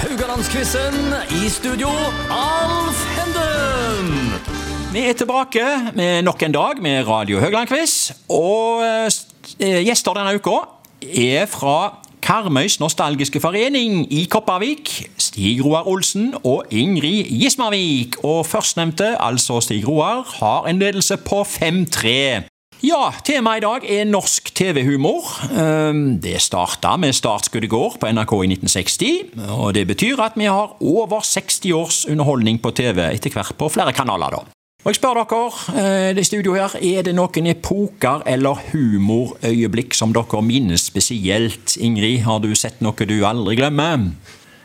Haugalandsquizen i studio, Alf Henden! Vi er tilbake med nok en dag med Radio Høgland-quiz. Og eh, gjester denne uka er fra Karmøys nostalgiske forening i Kopervik. Stig Roar Olsen og Ingrid Gismarvik. Og førstnevnte, altså Stig Roar, har en ledelse på 5-3. Ja, temaet i dag er norsk TV-humor. Ehm, Det starta med startskudd i går på NRK i 1960. Og det betyr at vi har over 60 års underholdning på TV, etter hvert på flere kanaler, da. Og jeg spør dere, eh, det studio her, er det noen epoker eller humorøyeblikk som dere minnes spesielt? Ingrid, har du sett noe du aldri glemmer?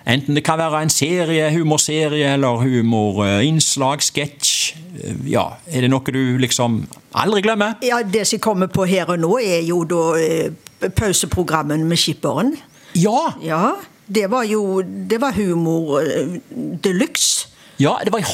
Enten det kan være en serie, humorserie eller humorinnslag, sketsj. Eh, Ja, er det noe du liksom aldri glemmer? Ja, Det som jeg kommer på her og nå, er jo da eh, pauseprogrammen med skipperen. Ja! Ja, det var jo Det var humor eh, de luxe. Ja, det var i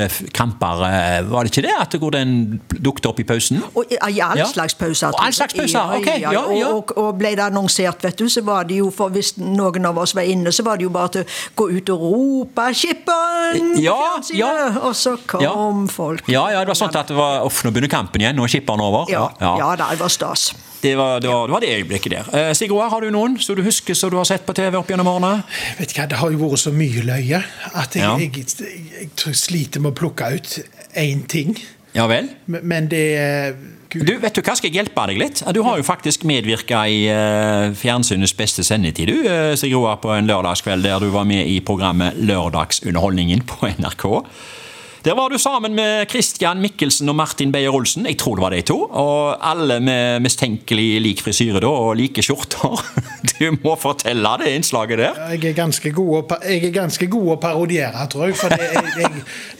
håndballkamper, eh, var det ikke det? At det går den dukket opp i pausen? Og eh, i, I all Ja. slags pauser. Og all slags pauser, ok, ja, ja. Og, og, og ble det annonsert, vet du, så var det jo for Hvis noen av oss var inne, så var det jo bare til å gå ut og rope 'Skipperen!' i Eh, Ja, fjernsynet, ja. Og så kom Ja. folk. Ja, ja, det var sånn at det var Uff, nå begynner kampen igjen, nå er skipperen over. Ja, ja da, det var stas. Det, var, det, var, det var det øyeblikket der. Eh, Stig Roar, har du noen som du husker som du har sett på TV opp gjennom årene? Vet du hva, Det har jo vært så mye løye at jeg, Ja. jeg, jeg, jeg tror jeg sliter med å plukke ut én ting. Ja vel? Men men det er eh, Gud, Du, vet du hva, skal jeg hjelpe deg litt? Du har jo faktisk medvirka i eh, fjernsynets beste sendetid, du, eh, Stig Roar, på en lørdagskveld der du var med i programmet Lørdagsunderholdningen på NRK. Der var du sammen med Christian Mikkelsen og Martin Beyer-Olsen, jeg tror det var de to, og alle med mistenkelig lik frisyre da, og like skjorter. Du må fortelle det innslaget der. jeg er ganske god å, pa- jeg er ganske god å parodiere, tror jeg. For det er, jeg,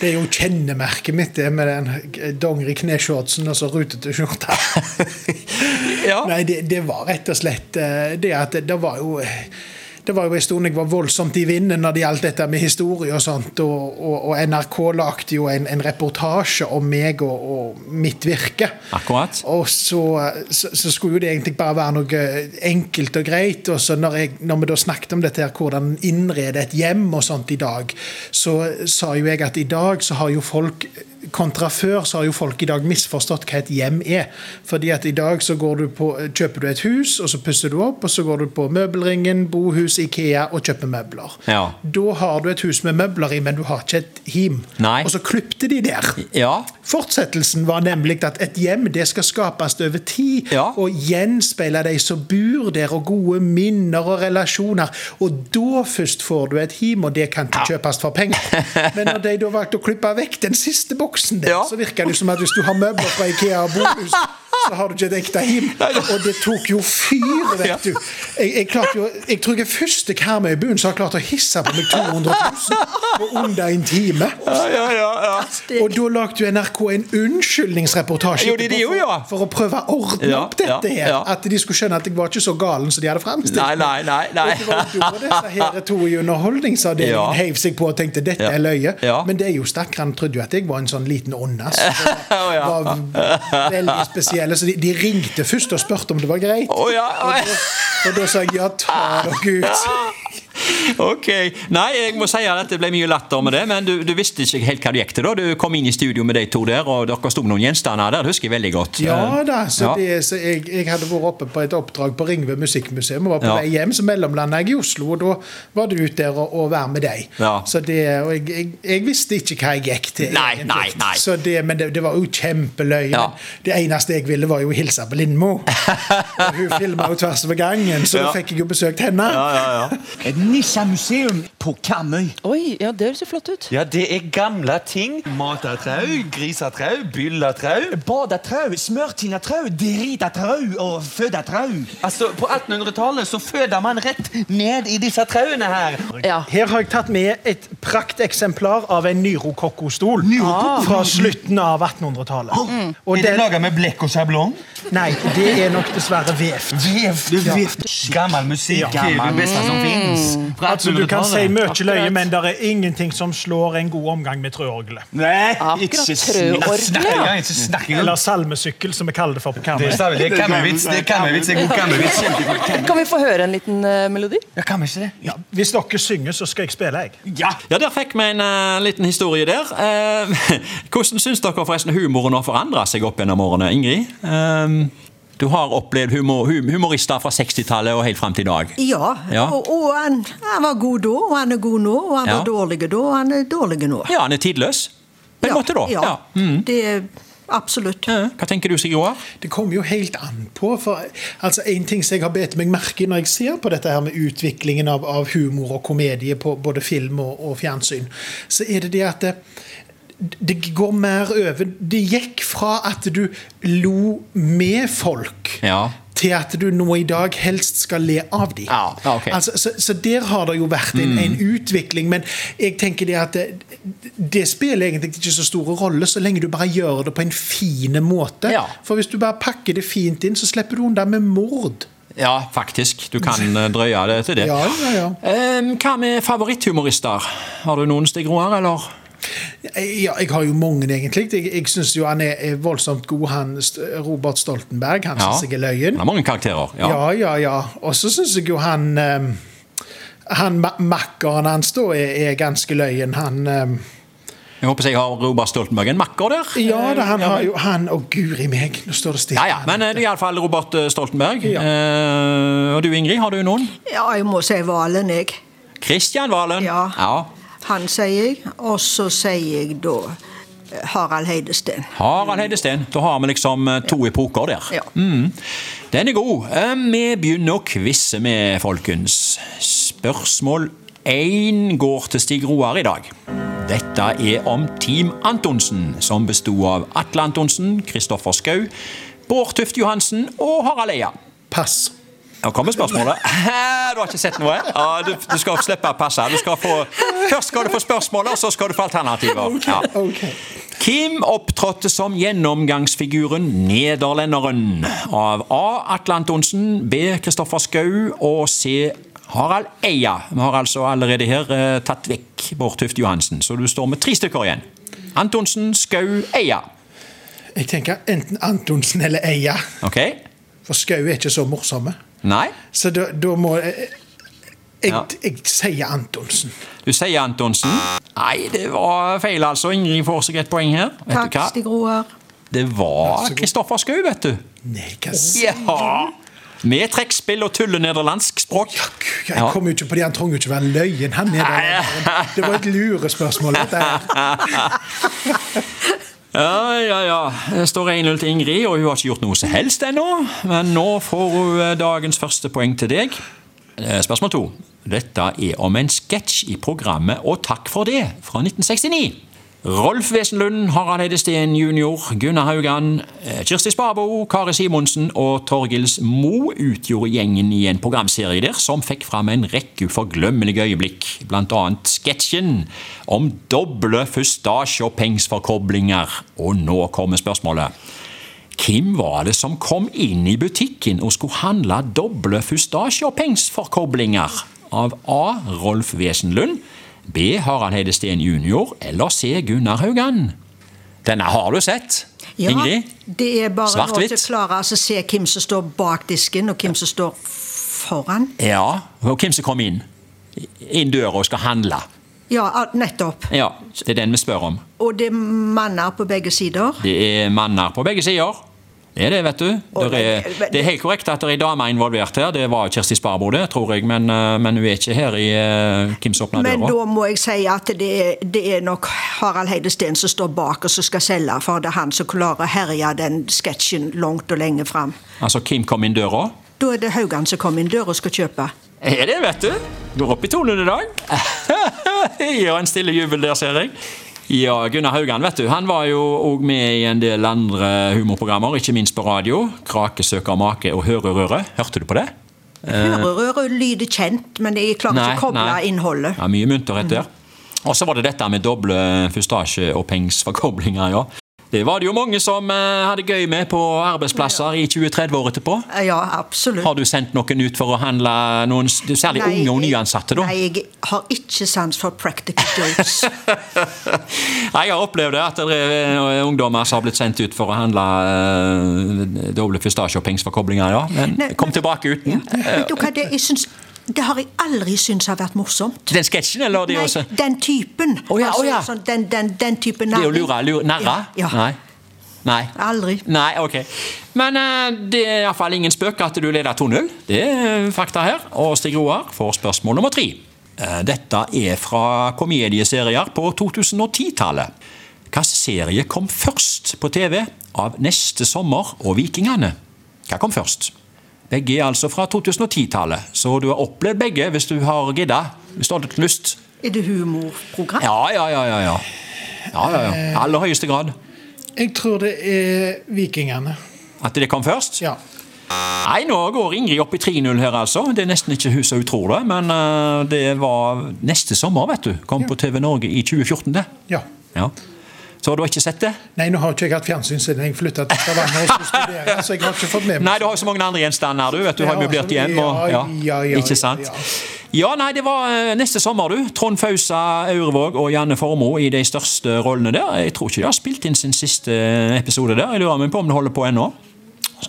det er jo kjennemerket mitt, det med den dongeri kneshortsen og så rutete skjorta. Ja. Nei, det, det var rett og slett eh, det at det, det var jo det var jo en stund jeg var voldsomt i vinden når det gjaldt dette med historie og sånt. Og, og, og NRK lagde jo en, en reportasje om meg og, og mitt virke. Akkurat. Og så, eh, så, så skulle jo det egentlig bare være noe eh, enkelt og greit. Og så når, jeg, når vi da snakket om dette her, hvordan innrede et hjem og sånt i dag, så eh, sa jo jeg at i dag så har jo folk Kontra før så har jo folk i dag misforstått hva et hjem er. Fordi at i dag så går du på, eh, kjøper du et hus, og så pusser du opp, og så går du på møbelringen, bohus, Ikea og kjøper møbler. Ja. Da har du et hus med møbler i, men du har ikke et hjem. Nei. Og så klipte de der. Ja. Fortsettelsen var nemlig at et hjem det skal skapes over tid Ja. og gjenspeile de som bor der, og gode minner og relasjoner. Og da først får du et hjem, og det kan ikke kjøpes for penger. Men når de da valgte å klippe vekk den siste boksen der, Ja. så virker det som at hvis du har møbler fra Ikea og bohus, så har du ikke et ekte hjem. Og det tok jo fyr, Ja. vet du. Jeg, jeg, klarte jo, jeg tror jeg er første Karmøy-buen som har klart å hisse på meg 200 000 på under en time. ja, ja, ja. Og da lagde jo NRK en unnskyldningsreportasje Jo, det- det gjorde, ja. for, for å prøve å ordne Ja, opp dette ja, her. ja. At de skulle skjønne at jeg var ikke så galen som de hadde fremstilt. Nei, nei, nei. nei. Og det var jo da disse her to i underholdningsavdelingen Ja. heiv seg på og tenkte dette Ja. er løye. Ja. Men det er jo stakkaren trodde jo at jeg var en sånn liten ondas. Å, ja. Var veldig spesielle. Så de, de ringte først og spurte om det var greit. Å, ja. å, ja. Og da sa jeg ja, ta dere ut. Ok, Nei, jeg må si at det ble mye latter med det, men du, du visste ikke helt hva du gikk til da. Du kom inn i studio med de to der, og dere sto med noen gjenstander der. Det husker jeg veldig godt. Eh, Ja da, så, Ja. Det, så jeg, jeg hadde vært oppe på et oppdrag på Ringve musikkmuseum og var på Ja. vei hjem, så mellomlanda jeg i Oslo, og da var du ute der og, og være med deg. Ja. Så det, og jeg, jeg, jeg visste ikke hva jeg gikk til. Nei, egentlig. nei, nei. Så det, men det, det var jo kjempeløye. Ja. Det eneste jeg ville, var jo å hilse på Lindmo. og hun filma jo tvers over gangen, så Ja. da fikk jeg jo besøkt henne. Ja, ja, ja. Et nissemuseum på Karmøy. Oi, ja, det høres jo flott ut. Ja, det er gamle ting. Matatrau, grisatrau, bylletrau. Badetrau, smørtinatrau, dritatrau og fødatrau. Altså, på 1800-tallet så føder man rett ned i disse trauene her. Ja. Her har jeg tatt med et prakteksemplar av en nyrokokkostol Nyrokokko? fra slutten av 1800-tallet. mm. Og Er det den- laget med blekk og sablong? Nei, det er nok dessverre vevt. Vevt. Gammel musikk er det beste som finnes. Fra Mm. Altså, du kan si 1800-tallet. mye løye, men det er ingenting som slår en god omgang med trøorgelet. Nei, Akkurat ikke trøorgelet, ja. snakk Ikke snakk engang. Eller salmesykkel, som vi kaller det for på Det kammerset. er kammervits. Det er kammervits. Det er god kammervits. Kan vi få høre en liten eh, melodi? Ja, kan vi ikke det? Ja, hvis dere synger, så skal jeg spille, jeg. Ja. Ja, der fikk vi en eh, liten historie der. Eh, hvordan syns dere forresten humoren har forandra seg opp gjennom årene, Ingrid? Eh, du har opplevd humor, hum, humorister fra 60-tallet og helt fram til i dag. Ja, Ja. og, og han, han var god da, og han er god nå, og han Ja. var dårlig da, og han er dårlig nå. Ja, han er tidløs. På en måte, da. Ja, Ja. Mm. det er absolutt. Eh, Hva tenker du, Sigrid Roar? Det kommer jo helt an på. for altså, En ting som jeg har bedt meg merke i når jeg ser på dette her med utviklingen av, av humor og komedie på både film og, og fjernsyn, så er det det at det, det går mer over Det gikk fra at du lo med folk Ja. til at du nå i dag helst skal le av dem. Ja, ja, ok. altså, så, så der har det jo vært en, en Mm. utvikling, men jeg tenker det at det, det spiller egentlig ikke så stor rolle så lenge du bare gjør det på en fin måte. Ja. For hvis du bare pakker det fint inn, så slipper du unna med mord. Ja, faktisk. Du kan eh, drøye det til det. Ja, ja, ja. Eh, hva med favoritthumorister? Har du noen, Stig Roar, eller? Ja, jeg har jo mange, egentlig. Jeg, jeg syns jo han er, er voldsomt god, han St- Robert Stoltenberg. Han syns jeg er løyen. Han har mange karakterer. Ja. Ja, ja, ja. Og så syns jeg jo han eh, Han ma- makkeren hans da er, er ganske løyen. Han eh, Jeg håper jeg har Robert Stoltenberg en makker der. Ja da, han har jo han Å, guri meg, nå står det stille. Ja, ja, Men eh, det er iallfall Robert eh, Stoltenberg. Eh, og du, Ingrid, har du noen? Ja, jeg må si Valen, jeg. Kristian Valen. Ja. Han sier jeg, og så sier jeg da eh, Harald Heidesteen. Harald Heidesteen. Da har vi liksom eh, to epoker der. Ja. Mm. Den er god. Eh, Vi begynner å quize med, folkens. Spørsmål én går til Stig Roar i dag. Dette er om Team Antonsen, som besto av Atle Antonsen, Kristoffer Schou, Bård Tufte Johansen og Harald Eia. Pass. Nå kommer spørsmålet. Du har ikke sett noe? Ja, du, du skal slippe å passe. Du skal få, først skal du få spørsmål, og så skal du få alternativer. Ja. Ok. Kim opptrådte som gjennomgangsfiguren Nederlenderen av A. Atle Antonsen, B. Kristoffer Schou og C. Harald Eia. Vi har altså allerede her eh, tatt vekk Bård Tufte Johansen, så du står med tre stykker igjen. Antonsen, Schou, Eia. Jeg tenker enten Antonsen eller Eia, OK? for Skau er ikke så morsomme. Nei? Så da, da må jeg, jeg, Ja. jeg sier Antonsen. Du sier Antonsen. Nei, det var feil, altså. Ingrid får seg et poeng her. Vet Takk, du hva? Stig Roar. Det var Kristoffer Schou, vet du. Nei, hva s- Ja. Med trekkspill og tulle nederlandsk språk. Gud, Ja. Jeg kom jo ikke på det, han trenger jo ikke være løyen. Han er der. Det var et lurespørsmål. dette her. Ja, ja, ja. Det står 1-0 til Ingrid, og hun har ikke gjort noe som helst ennå. Men nå får hun eh, dagens første poeng til deg. Eh, Spørsmål to. Dette er om en sketsj i programmet Og takk for det fra 1969. Rolf Wesenlund, Harald Eide Steen jr., Gunnar Haugan, eh, Kirsti Sparbo, Kari Simonsen og Torgils Mo utgjorde gjengen i en programserie der som fikk fram en rekke uforglemmelige øyeblikk, blant annet sketsjen om doble fustasje- og pengsforkoblinger. Og nå kommer spørsmålet. Hvem var det som kom inn i butikken og skulle handle doble fustasjepengsforkoblinger? Av A. Rolf Wesenlund, B. Harald Heidesteen jr. eller C. Gunnar Haugan? Denne har du sett, Ja, Ingrid. det er bare å Svart-hvitt. klare altså, se hvem som står bak disken, og hvem som står foran. Ja, og hvem som kom inn? Inn døra og skal handle. Ja, ah, nettopp. Ja, Det er den vi spør om. Og det er manner på begge sider. Det er manner på begge sider. Det er det, vet du. Og- Det er, det er helt korrekt at det er dame involvert her. Det var Kjersti Sparbo, det, tror jeg. Men, eh, men hun er ikke her i eh, hvem som åpna Men døra. da må jeg si at det er, det er nok Harald Heidesteen som står bak og som skal selge, for det er han som klarer å herje den sketsjen langt og lenge fram. Altså, Kim kom inn døra. Da er det Haugan som kommer inn døra og skal kjøpe. Er det, vet du? Går opp i tonen i dag. Gjør en stille jubel der, ser jeg. Ja, Gunnar Haugan, vet du, han var jo òg med i en del andre humorprogrammer, ikke minst på radio. 'Krake søker make' og 'Hørerøret'. Hørte du på det? Eh. Hørerøret lyder kjent, men jeg klarer ikke å koble innholdet. Mm. Ja, mye munterhet der. Og så var det dette med doble fustasje- og pengsforkoblinger, ja. Det var det jo mange som eh, hadde gøy med på arbeidsplasser i 20-30 år etterpå. Ja, absolutt. Har du sendt noen ut for å handle noen, s- særlig Nei, unge og jeg- nyansatte, da? Nei, jeg har ikke sans for practical jokes. Nei, jeg har opplevd det, at det er eh, ungdommer som har blitt sendt ut for å handle eh, doble pistasjeoppingsforkoblinger, ja. Men kom tilbake uten. Vet du hva, det, jeg syns, det har jeg aldri syntes har vært morsomt. Den sketsjen, eller det Nei, også? den typen. Å ja, å ja. sånn, den, den, den typen Det er jo narring. lure, lure narre? Ja, ja. Nei. Nei. Aldri. Nei, ok. Men eh, det er iallfall ingen spøk at du leder 2-0. Det er eh, fakta her. Og Stig Roar får spørsmål nummer tre. Eh, Dette er fra komedieserier på 2010-tallet. Hvilken serie kom først på TV av Neste sommer og Vikingene? Hva kom først? Begge er altså fra 2010-tallet, så du har opplevd begge hvis du har gidda. Hvis du har hatt lyst. Er det humorprogram? Ja, ja, ja. ja, ja. Ja, ja, ja. I aller høyeste grad. Jeg tror det er Vikingene. At det kom først? Ja. Nei, nå går Ingrid opp i 3-0 her, altså. Det er nesten ikke hun som hun tror det, men eh, det var neste sommer, vet du. Kom på TV Norge i 2014, det. ja. Ja. Så du har ikke sett det? Nei, nå har ikke jeg hatt fjernsyn siden jeg flytta til Stavanger. og skulle studere, så jeg har ikke fått med Nei, meg du har jo så mange andre gjenstander, du. vet Du har Ja, møblert altså, hjem. Og, ja, ja, ja, ikke sant? ja. Ja, nei, det var eh, neste sommer, du. Trond Fausa, Aurevåg og Janne Formoe i de største rollene der. Jeg tror ikke de har spilt inn sin siste eh, episode der. Jeg lurer meg på om det holder på ennå.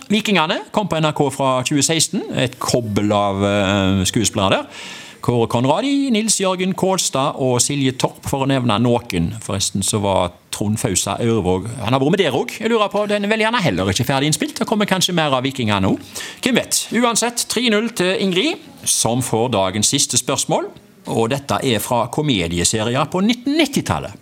Vikingene kom på NRK fra 2016. Et kobbel av eh, skuespillere der. Kåre Konradi, Nils Jørgen Kålstad og Silje Torp, for å nevne noen. Forresten så var Trond Fausa Aurevåg Han har vært med der òg. Jeg lurer på, Den er vel gjerne heller ikke ferdig innspilt. Det kommer kanskje mer av Vikingene òg. Hvem vet. Uansett 3-0 til Ingrid, som får dagens siste spørsmål. Og dette er fra komedieserier på 1990-tallet.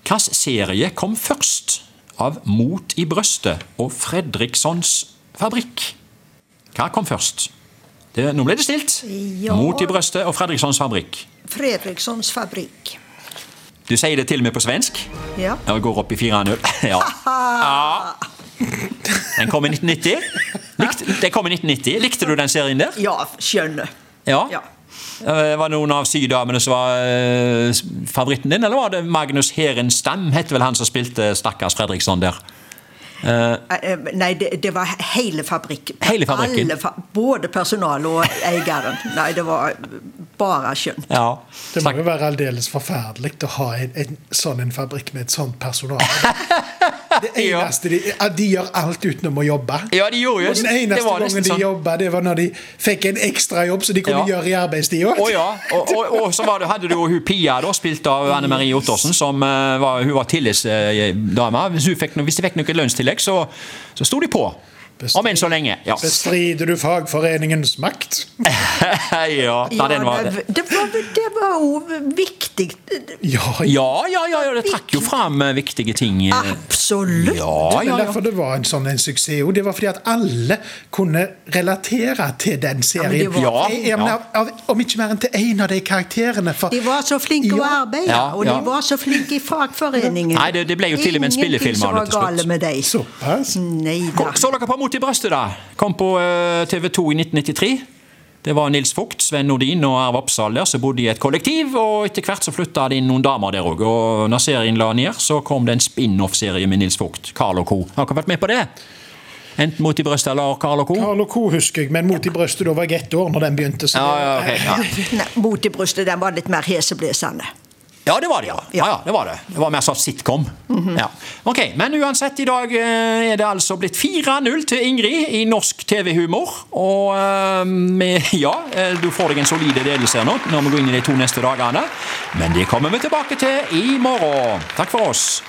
Hvilken serie kom først av Mot i brøstet og Fredrikssons fabrikk? Hva kom først? Det, nå ble det stilt. Ja. Mot i brøstet og Fredrikssons fabrikk. Fredrikssons fabrikk. Du sier det til og med på svensk. Ja. Jeg går opp i 4-0. Ja. ja. Den kom i 1990. Likte, den kom i 1990. Likte du den serien der? Ja, skjønner. Ja. Ja. Eh, Var det noen av sydamene som var eh, favoritten din, eller var det Magnus Herenstam, het vel han som spilte stakkars Fredriksson der? Eh, eh, Nei, det, det var hele fabrikken. Hele fabrikken? Alle fa både personalet og eieren. Nei, det var eh, bare skjønt. Ja. Det må jo være aldeles forferdelig å ha en, en sånn en fabrikk med et sånt personale. Det Ja. eneste de, ja, de gjør alt utenom å jobbe. Ja, de gjorde jo Og Den eneste gangen sånn. de jobba, det var når de fikk en ekstra jobb som de kunne Ja. gjøre i arbeidstida. Å ja. Og, og, og så var det, hadde du jo hun Pia, da, spilt av Anne Marie Ottersen, som eh, var, hun var tillitsdame. Hvis, hun fikk no- hvis de fikk noe lønnstillegg, så, så sto de på. Om enn så lenge. Ja. Bestrider du fagforeningens makt? ja, da, den var det, det var det var jo viktig. Ja, ja. Ja, ja, ja, ja, det trakk jo fram eh, viktige ting. eh. Absolutt. Ja, Men ja, ja. derfor det var en sånn en suksess. jo, Det var fordi at alle kunne relatere til den det serien. var- Jeg- jeg mener, av, om ikke mer enn til én av de karakterene. For, De var så flinke å Ja. arbeide, Ja, og de ja. var så flinke i fagforeningen. Nei, det- det ble jo til og med en spillefilm av det til Ingenting som slutt. var gale med deg. Såpass. Nei da. Så dere på Mot i brøstet, da. Kom på eh, TV 2 i 1993. Det var Nils Vogt, Sven Nordin og Arve Oppsal der som bodde i et kollektiv. og Etter hvert så flytta det inn noen damer der òg. Og når serien la ned, så kom det en spin-off-serie med Nils Vogt. Carl og co. Har dere vært med på det? Enten Mot i brøstet eller Carl og co.? Carl og Co. husker jeg, men Mot i brøstet da var jeg ett år når den begynte. Så Ja, ja, ok. ja. Nei, mot i brystet, den var litt mer heseblesende. Ja, det var det, ja. ja, ja det, var det. det var mer sånn sitcom. ja. Ok, Men uansett, i dag eh, er det altså blitt 4-0 til Ingrid i norsk TV-humor. Og eh, med, ja, eh, du får deg en solid ledelse her nå når vi går inn i de to neste dagene. Men det kommer vi tilbake til i morgen. Takk for oss.